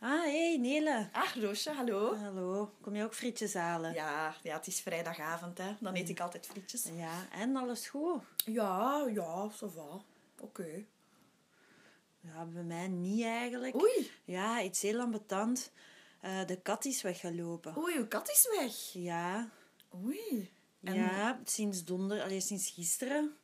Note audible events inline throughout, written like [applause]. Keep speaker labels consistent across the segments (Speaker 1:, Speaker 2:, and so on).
Speaker 1: Ah, hey Nele.
Speaker 2: Ach, Ah, Roosje, hallo.
Speaker 1: Hallo. Kom je ook frietjes halen?
Speaker 2: Oh. Ja, ja, het is vrijdagavond, hè. Dan eet ik altijd frietjes.
Speaker 1: Ja, en alles goed?
Speaker 2: Ja, ja, ça va. Oké.
Speaker 1: Ja, bij mij niet eigenlijk.
Speaker 2: Oei,
Speaker 1: Ja, iets heel ambetant. Eh, de kat is weggelopen.
Speaker 2: oei, uw kat is weg.
Speaker 1: Ja,
Speaker 2: Oei. En-
Speaker 1: ja sinds donder, allee, sinds gisteren.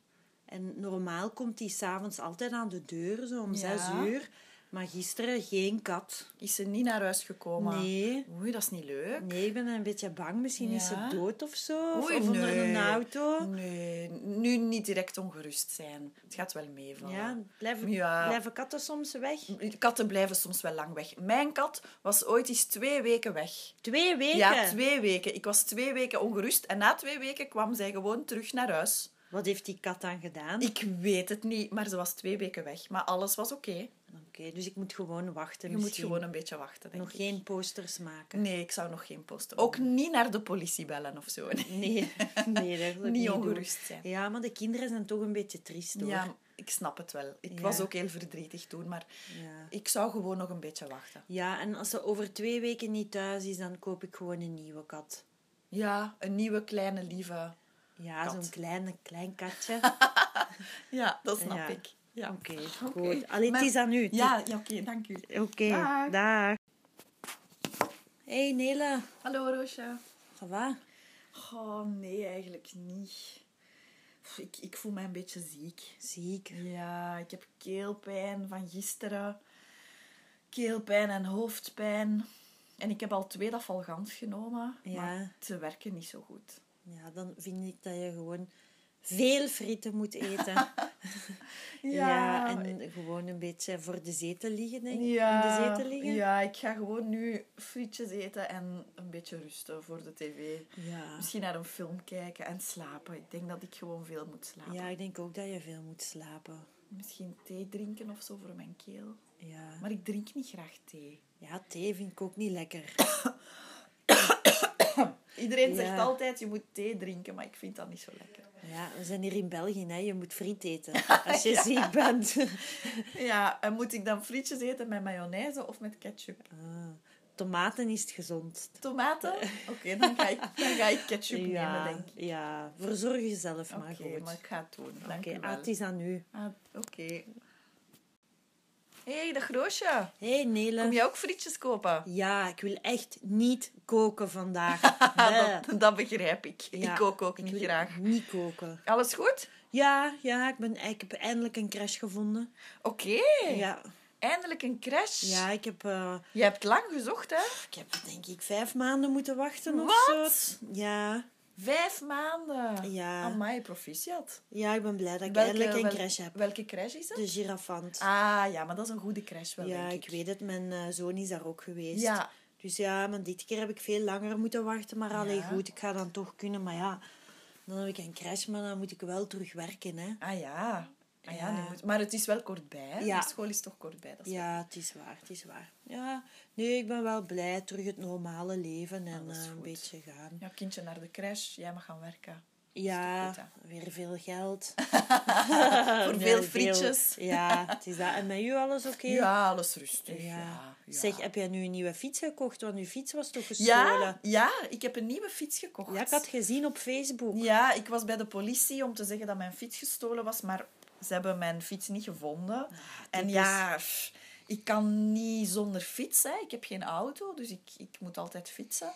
Speaker 1: En normaal komt die s'avonds altijd aan de deur, zo om
Speaker 2: Ja.
Speaker 1: zes uur. Maar gisteren geen kat.
Speaker 2: Is ze niet naar huis gekomen?
Speaker 1: Nee.
Speaker 2: Oei, dat is niet leuk.
Speaker 1: Nee, ik ben een beetje bang. Misschien is ze
Speaker 2: Ja.
Speaker 1: dood of zo. Of-
Speaker 2: Oei,
Speaker 1: of onder
Speaker 2: nee.
Speaker 1: een auto.
Speaker 2: Nee, nu niet direct ongerust zijn. Het gaat wel meevallen.
Speaker 1: Ja, blijven,
Speaker 2: Ja.
Speaker 1: blijven katten soms weg?
Speaker 2: Katten blijven soms wel lang weg. Mijn kat was ooit eens twee weken weg.
Speaker 1: Twee weken?
Speaker 2: Ja, twee weken. Ik was twee weken ongerust en na twee weken kwam zij gewoon terug naar huis.
Speaker 1: Wat heeft die kat dan gedaan?
Speaker 2: Ik weet het niet, maar ze was twee weken weg. Maar alles was oké.
Speaker 1: Oké, dus ik moet gewoon wachten.
Speaker 2: Je moet
Speaker 1: misschien.
Speaker 2: gewoon een beetje wachten, denk
Speaker 1: nog
Speaker 2: ik.
Speaker 1: geen posters maken.
Speaker 2: Nee, ik zou nog geen posten. Ook niet naar de politie bellen of zo. Nee.
Speaker 1: Nee, [laughs] nee dat wil ik
Speaker 2: Niet
Speaker 1: doen.
Speaker 2: ongerust zijn.
Speaker 1: Ja, maar de kinderen zijn toch een beetje triest hoor.
Speaker 2: Ja, ik snap het wel. Ik
Speaker 1: Ja.
Speaker 2: was ook heel verdrietig toen, maar
Speaker 1: Ja.
Speaker 2: ik zou gewoon nog een beetje wachten.
Speaker 1: Ja, en als ze over twee weken niet thuis is, dan koop ik gewoon een nieuwe kat.
Speaker 2: Ja, een nieuwe kleine lieve.
Speaker 1: Ja,
Speaker 2: Kat.
Speaker 1: zo'n klein, klein
Speaker 2: [laughs]
Speaker 1: katje.
Speaker 2: Ja, dat snap
Speaker 1: Ja.
Speaker 2: ik. Ja.
Speaker 1: Oké,
Speaker 2: Oké.
Speaker 1: goed. Allee, het
Speaker 2: Maar-
Speaker 1: is aan u. het
Speaker 2: Ja, ja oké, dank u.
Speaker 1: is- Oké,
Speaker 2: Dag.
Speaker 1: dag. hey, Nela.
Speaker 2: Hallo Roosje.
Speaker 1: Ça va?
Speaker 2: Oh nee, eigenlijk niet. Pff, Ik, ik voel mij een beetje ziek.
Speaker 1: Ziek.
Speaker 2: Ja, ik heb keelpijn van gisteren. Keelpijn en hoofdpijn. En ik heb al twee dafalgans genomen.
Speaker 1: Ja.
Speaker 2: Maar ze werken niet zo goed.
Speaker 1: Ja, dan vind ik dat je gewoon veel frieten moet eten.
Speaker 2: [laughs]
Speaker 1: Ja, en gewoon een beetje voor de zetel liggen, denk ik.
Speaker 2: Ja,
Speaker 1: In de zetel liggen.
Speaker 2: ja, ik ga gewoon nu frietjes eten en een beetje rusten voor de tv.
Speaker 1: Ja.
Speaker 2: Misschien naar een film kijken en slapen. Ik denk dat ik gewoon veel moet slapen.
Speaker 1: Ja, ik denk ook dat je veel moet slapen.
Speaker 2: Misschien thee drinken of zo voor mijn keel.
Speaker 1: Ja.
Speaker 2: Maar ik drink niet graag thee.
Speaker 1: ja, thee vind ik ook niet lekker.
Speaker 2: Iedereen
Speaker 1: Ja.
Speaker 2: zegt altijd, je moet thee drinken, maar ik vind dat niet zo lekker.
Speaker 1: Ja, we zijn hier in België, hè. je moet friet
Speaker 2: [laughs]
Speaker 1: eten als je ziek bent.
Speaker 2: Ja, en moet ik dan frietjes eten met mayonaise of met ketchup?
Speaker 1: Ah, tomaten is het gezondst.
Speaker 2: Tomaten? Oké, dan, ga ik, dan ga ik ketchup
Speaker 1: ja,
Speaker 2: nemen, denk ik.
Speaker 1: ja, verzorg jezelf maar
Speaker 2: Oké,
Speaker 1: goed.
Speaker 2: maar ik ga het doen. Dank
Speaker 1: Oké,
Speaker 2: u wel.
Speaker 1: ah, het is aan u.
Speaker 2: Ah, Oké. Hé, hey, dag Roosje.
Speaker 1: hey, Nele.
Speaker 2: Kom jij ook frietjes kopen?
Speaker 1: Ja, ik wil echt niet koken
Speaker 2: [laughs]
Speaker 1: vandaag. Nee.
Speaker 2: dat, dat begrijp ik.
Speaker 1: Ja,
Speaker 2: ik kook ook
Speaker 1: ik
Speaker 2: niet
Speaker 1: wil
Speaker 2: graag.
Speaker 1: Niet koken.
Speaker 2: Alles goed?
Speaker 1: Ja, ja, ik, ben, ik heb eindelijk een crash gevonden.
Speaker 2: Oké.
Speaker 1: Ja,
Speaker 2: Eindelijk een crash.
Speaker 1: ja ik, heb, eh,
Speaker 2: Je hebt lang gezocht, hè?
Speaker 1: ik heb denk ik vijf maanden moeten wachten of
Speaker 2: Wat?
Speaker 1: zo. Ja,
Speaker 2: Vijf maanden.
Speaker 1: Ja.
Speaker 2: Amai, proficiat.
Speaker 1: ja, ik ben blij dat ik
Speaker 2: Welke-
Speaker 1: eindelijk een
Speaker 2: wel-
Speaker 1: crash heb.
Speaker 2: Welke crash is het?
Speaker 1: De girafant.
Speaker 2: Ah, ja, maar dat is een goede crash wel,
Speaker 1: ja,
Speaker 2: denk
Speaker 1: ik. weet het. Mijn eh, zoon is daar ook geweest.
Speaker 2: Ja.
Speaker 1: Dus ja, maar dit keer heb ik veel langer moeten wachten. Maar alleen
Speaker 2: Ja.
Speaker 1: goed, ik ga dan toch kunnen. Maar ja, dan heb ik een crash, maar dan moet ik wel terug werken, hè.
Speaker 2: Ah ja. Ah, ja,
Speaker 1: Ja.
Speaker 2: nu moet- Maar het is wel kortbij, hè?
Speaker 1: Ja.
Speaker 2: De school is toch kortbij. Dat is
Speaker 1: Ja, het is waar, het is waar. Ja, nee, ik ben wel blij terug het normale leven en
Speaker 2: Ah, dat is
Speaker 1: eh, een
Speaker 2: goed.
Speaker 1: beetje gaan.
Speaker 2: wel- Ja, kindje naar de crash. Jij mag gaan werken.
Speaker 1: Ja,
Speaker 2: toch
Speaker 1: weer veel geld.
Speaker 2: [laughs] Voor
Speaker 1: Nee,
Speaker 2: veel frietjes.
Speaker 1: ja, het is dat. En met u alles oké?
Speaker 2: Ja, alles rustig. Ja.
Speaker 1: Ja.
Speaker 2: Ja,
Speaker 1: Zeg, heb jij nu een nieuwe fiets gekocht? Want uw fiets was toch
Speaker 2: ja,
Speaker 1: gestolen?
Speaker 2: ja, ik heb een nieuwe fiets gekocht.
Speaker 1: Ja, ik had gezien op Facebook.
Speaker 2: Ja, ik was bij de politie om te zeggen dat mijn fiets gestolen was, maar ze hebben mijn fiets niet
Speaker 1: Ah,
Speaker 2: gevonden. en ja, pff, ik kan niet zonder fiets. Hè. Ik heb geen auto, dus ik, ik moet altijd fietsen.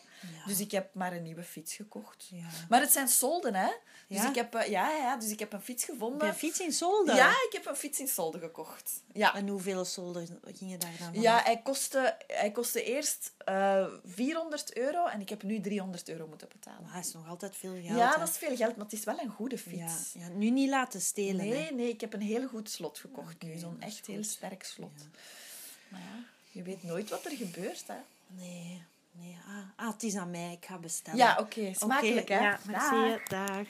Speaker 2: Dus ik heb maar een nieuwe fiets gekocht.
Speaker 1: Ja.
Speaker 2: Maar het zijn solden, hè? Dus,
Speaker 1: Ja?
Speaker 2: ik heb, eh, ja, ja, dus ik heb een fiets gevonden.
Speaker 1: Bij fiets Oh, in Solden?
Speaker 2: Ja, ik heb een fiets in solden gekocht. Ja.
Speaker 1: En hoeveel solden gingen daar dan van?
Speaker 2: Ja, hij kostte, hij kostte eerst eh 400 euro en ik heb nu 300 euro moeten betalen.
Speaker 1: Maar dat is nog altijd veel geld.
Speaker 2: Ja,
Speaker 1: hè.
Speaker 2: dat is veel geld, maar het is wel een goede
Speaker 1: ja,
Speaker 2: fiets.
Speaker 1: ja, nu niet laten stelen. hè.
Speaker 2: Nee, nee, ik heb een heel goed slot gekocht nu. Zo'n
Speaker 1: dat is
Speaker 2: echt heel
Speaker 1: goed.
Speaker 2: sterk slot. Maar ja, je weet nooit wat er gebeurt, hè.
Speaker 1: Nee, nee. Ah, ah, het is aan mij. Ik ga bestellen.
Speaker 2: Ja, oké. smakelijk, hè.
Speaker 1: Ja, merci.
Speaker 2: Dag.
Speaker 1: Dag.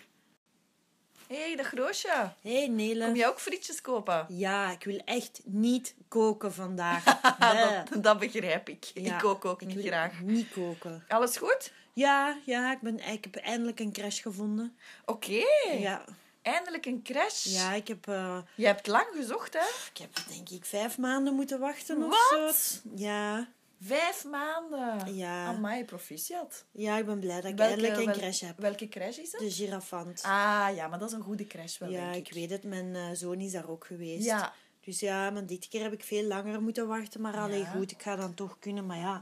Speaker 2: hey, dag Roosje.
Speaker 1: hey, Nele.
Speaker 2: Kom jij ook frietjes kopen?
Speaker 1: Ja, ik wil echt niet koken
Speaker 2: [laughs]
Speaker 1: vandaag. Nee.
Speaker 2: dat, dat begrijp ik.
Speaker 1: Ja,
Speaker 2: ik kook ook
Speaker 1: ik
Speaker 2: niet
Speaker 1: wil
Speaker 2: graag.
Speaker 1: Niet koken.
Speaker 2: Alles goed?
Speaker 1: Ja, ja, ik, ben, ik heb eindelijk een crash gevonden.
Speaker 2: Oké.
Speaker 1: Ja,
Speaker 2: Eindelijk een crash.
Speaker 1: ja ik, heb, eh,
Speaker 2: Je hebt lang gezocht, hè?
Speaker 1: ik heb denk ik vijf maanden moeten wachten of
Speaker 2: Wat?
Speaker 1: zo. Ja,
Speaker 2: Vijf maanden.
Speaker 1: Ja.
Speaker 2: Amai, proficiat.
Speaker 1: Ja, ik ben blij dat ik
Speaker 2: Welke-
Speaker 1: eindelijk een
Speaker 2: wel-
Speaker 1: crash heb.
Speaker 2: Welke crash is dat?
Speaker 1: De girafant.
Speaker 2: Ah, ja, maar dat is een goede crash wel,
Speaker 1: ja,
Speaker 2: denk
Speaker 1: ik. weet het. Mijn eh, zoon is daar ook geweest.
Speaker 2: Ja,
Speaker 1: Dus ja, maar dit keer heb ik veel langer moeten wachten. Maar alleen
Speaker 2: Ja.
Speaker 1: goed, ik ga dan toch kunnen. Maar ja,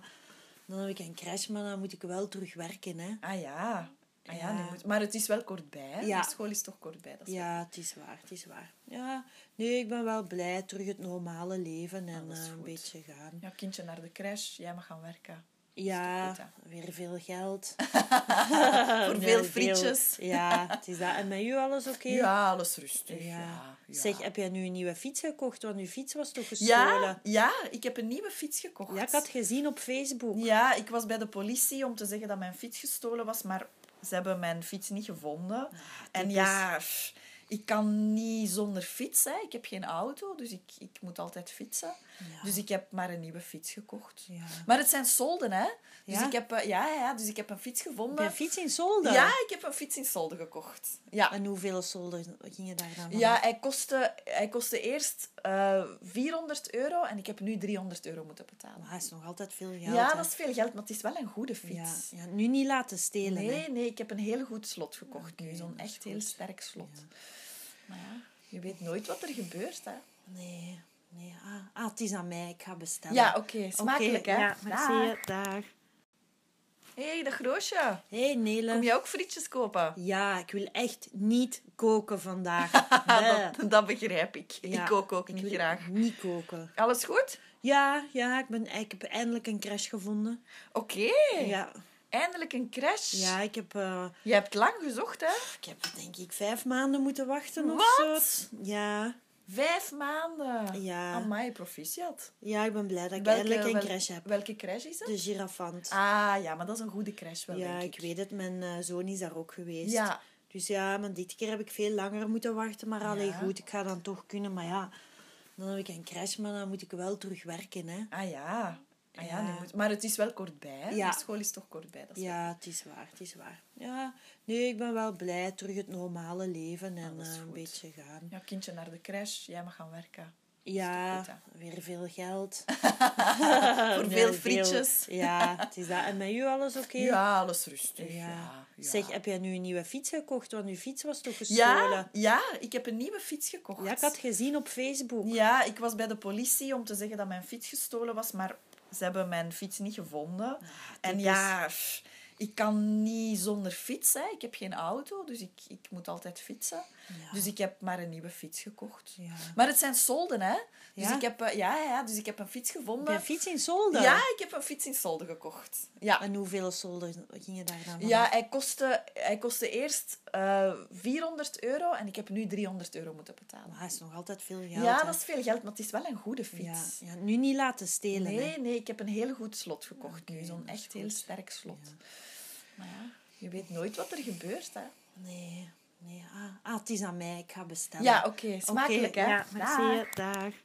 Speaker 1: dan heb ik een crash, maar dan moet ik wel terug werken. Hè.
Speaker 2: ah ja. Ah ja,
Speaker 1: Ja.
Speaker 2: nu moet... Maar het is wel kortbij, hè?
Speaker 1: Ja.
Speaker 2: De school is toch kortbij, dat is
Speaker 1: Ja, het is waar, het is waar. Ja, nee, ik ben wel blij. Terug het normale leven en
Speaker 2: dat is
Speaker 1: eh, een
Speaker 2: goed.
Speaker 1: beetje gaan.
Speaker 2: Jouw kindje naar de crash, jij mag gaan werken.
Speaker 1: Ja,
Speaker 2: toch
Speaker 1: weer veel geld.
Speaker 2: [laughs]
Speaker 1: [laughs]
Speaker 2: Voor
Speaker 1: Nee,
Speaker 2: veel frietjes.
Speaker 1: ja, het is dat. En met u alles oké?
Speaker 2: Ja, alles rustig. Ja.
Speaker 1: Ja.
Speaker 2: ja.
Speaker 1: Zeg, heb jij nu een nieuwe fiets gekocht? Want uw fiets was toch
Speaker 2: ja,
Speaker 1: gestolen?
Speaker 2: ja, ik heb een nieuwe fiets gekocht.
Speaker 1: Ja, ik had gezien op Facebook.
Speaker 2: Ja, ik was bij de politie om te zeggen dat mijn fiets gestolen was, maar ze hebben mijn fiets niet gevonden. en ja, pff, ik kan niet zonder fiets. Hè. Ik heb geen auto, dus ik, ik moet altijd fietsen. Dus ik heb maar een nieuwe fiets gekocht.
Speaker 1: Ja.
Speaker 2: Maar het zijn solden, hè? Dus,
Speaker 1: Ja?
Speaker 2: ik heb, eh, ja, ja, dus ik heb een fiets
Speaker 1: Heb jij
Speaker 2: gevonden.
Speaker 1: een fiets in Solden?
Speaker 2: Ja, ik heb een fiets in solden gekocht. Ja.
Speaker 1: En hoeveel solden gingen daar dan
Speaker 2: Ja, hij kostte, hij kostte eerst eh 400 euro en ik heb nu 300 euro moeten betalen.
Speaker 1: Maar hij is nog altijd veel geld.
Speaker 2: Ja,
Speaker 1: hè.
Speaker 2: dat is veel geld, maar het is wel een goede
Speaker 1: Ah, ja,
Speaker 2: fiets.
Speaker 1: ja, nu niet laten stelen. Hè.
Speaker 2: Nee, nee, ik heb een heel goed slot gekocht nu. Zo'n echt heel sterk slot. Maar ja, je weet nooit wat er gebeurt, hè.
Speaker 1: Nee, nee. Ah, ah, het is aan mij. Ik ga bestellen.
Speaker 2: Ja, oké. smakelijk,
Speaker 1: Oké,
Speaker 2: hè.
Speaker 1: Ja, merci.
Speaker 2: Dag.
Speaker 1: Dag.
Speaker 2: hey, dag Roosje.
Speaker 1: Hé, hey, Nele.
Speaker 2: Kom jij ook frietjes kopen?
Speaker 1: Ja, ik wil echt niet koken
Speaker 2: [laughs]
Speaker 1: vandaag. Nee.
Speaker 2: Ah, dat, dat begrijp ik.
Speaker 1: Ja,
Speaker 2: ik kook ook
Speaker 1: ik
Speaker 2: niet
Speaker 1: wil
Speaker 2: graag.
Speaker 1: Niet koken.
Speaker 2: Alles goed?
Speaker 1: Ja, ja, ik, ben, ik heb eindelijk een crash gevonden.
Speaker 2: Oké.
Speaker 1: Ja,
Speaker 2: Eindelijk een crash.
Speaker 1: ja ik, heb, eh,
Speaker 2: Je hebt lang gezocht, hè?
Speaker 1: ik heb denk ik vijf maanden moeten wachten of
Speaker 2: Wat?
Speaker 1: zo. Ja,
Speaker 2: Vijf maanden.
Speaker 1: Ja.
Speaker 2: Amai, proficiat.
Speaker 1: ja, ik ben blij dat ik eindelijk een
Speaker 2: wel-
Speaker 1: crash heb.
Speaker 2: Welke crash is dat?
Speaker 1: De girafant.
Speaker 2: Ah, ja, maar dat is een goede crash wel,
Speaker 1: ja,
Speaker 2: denk
Speaker 1: ik. weet het. Mijn eh, zoon is daar ook geweest.
Speaker 2: Ja.
Speaker 1: Dus ja, maar dit keer heb ik veel langer moeten wachten. Maar alleen
Speaker 2: Ja.
Speaker 1: goed, ik ga dan toch kunnen. Maar ja, dan heb ik een crash, maar dan moet ik wel terug werken. Hè.
Speaker 2: Ah ja. Ah, ja,
Speaker 1: Ja.
Speaker 2: nu moet... Maar het is wel kortbij, hè?
Speaker 1: Ja.
Speaker 2: De school is toch kortbij, dat is
Speaker 1: Ja, het is waar, het is waar. Ja, nee, ik ben wel blij. Terug het normale leven en
Speaker 2: dat is
Speaker 1: eh, een
Speaker 2: goed.
Speaker 1: beetje gaan.
Speaker 2: Jouw kindje naar de crash, jij mag gaan werken.
Speaker 1: Ja,
Speaker 2: toch
Speaker 1: weer veel geld.
Speaker 2: [laughs]
Speaker 1: [laughs]
Speaker 2: Voor
Speaker 1: Nee,
Speaker 2: veel frietjes.
Speaker 1: ja, het is dat. En met u alles oké? Dus
Speaker 2: Ja, alles rustig. Ja.
Speaker 1: Ja.
Speaker 2: ja.
Speaker 1: Zeg, heb jij nu een nieuwe fiets gekocht? Want uw fiets was toch
Speaker 2: ja,
Speaker 1: gestolen?
Speaker 2: ja, ik heb een nieuwe fiets gekocht.
Speaker 1: Ja, ik had gezien op Facebook.
Speaker 2: Ja, ik was bij de politie om te zeggen dat mijn fiets gestolen was, maar ze hebben mijn fiets niet
Speaker 1: Ah,
Speaker 2: gevonden. en ja, pff, ik kan niet zonder fiets. Hè. Ik heb geen auto, dus ik, ik moet altijd fietsen. Dus ik heb maar een nieuwe fiets gekocht.
Speaker 1: Ja.
Speaker 2: Maar het zijn solden, hè? Dus,
Speaker 1: Ja?
Speaker 2: ik heb, eh, ja, ja, dus ik heb een fiets
Speaker 1: Heb jij
Speaker 2: gevonden.
Speaker 1: een fiets in Solden?
Speaker 2: Ja, ik heb een fiets in solden gekocht. Ja.
Speaker 1: En hoeveel solden gingen daar dan
Speaker 2: Ja, hij kostte, hij kostte eerst eh 400 euro en ik heb nu 300 euro moeten betalen.
Speaker 1: Maar hij is nog altijd veel geld.
Speaker 2: Ja,
Speaker 1: hè.
Speaker 2: dat is veel geld, maar het is wel een goede
Speaker 1: ja,
Speaker 2: fiets.
Speaker 1: ja, nu niet laten stelen. Hè.
Speaker 2: Nee, nee, ik heb een heel goed slot gekocht nu. Zo'n
Speaker 1: dat is
Speaker 2: echt heel sterk slot. Maar ja, je weet nooit wat er gebeurt, hè.
Speaker 1: Nee, nee. Ah, ah, het is aan mij. Ik ga bestellen.
Speaker 2: Ja, oké. Smakelijk,
Speaker 1: Oké,
Speaker 2: hè.
Speaker 1: Ja,
Speaker 2: Dag.
Speaker 1: merci. Dag.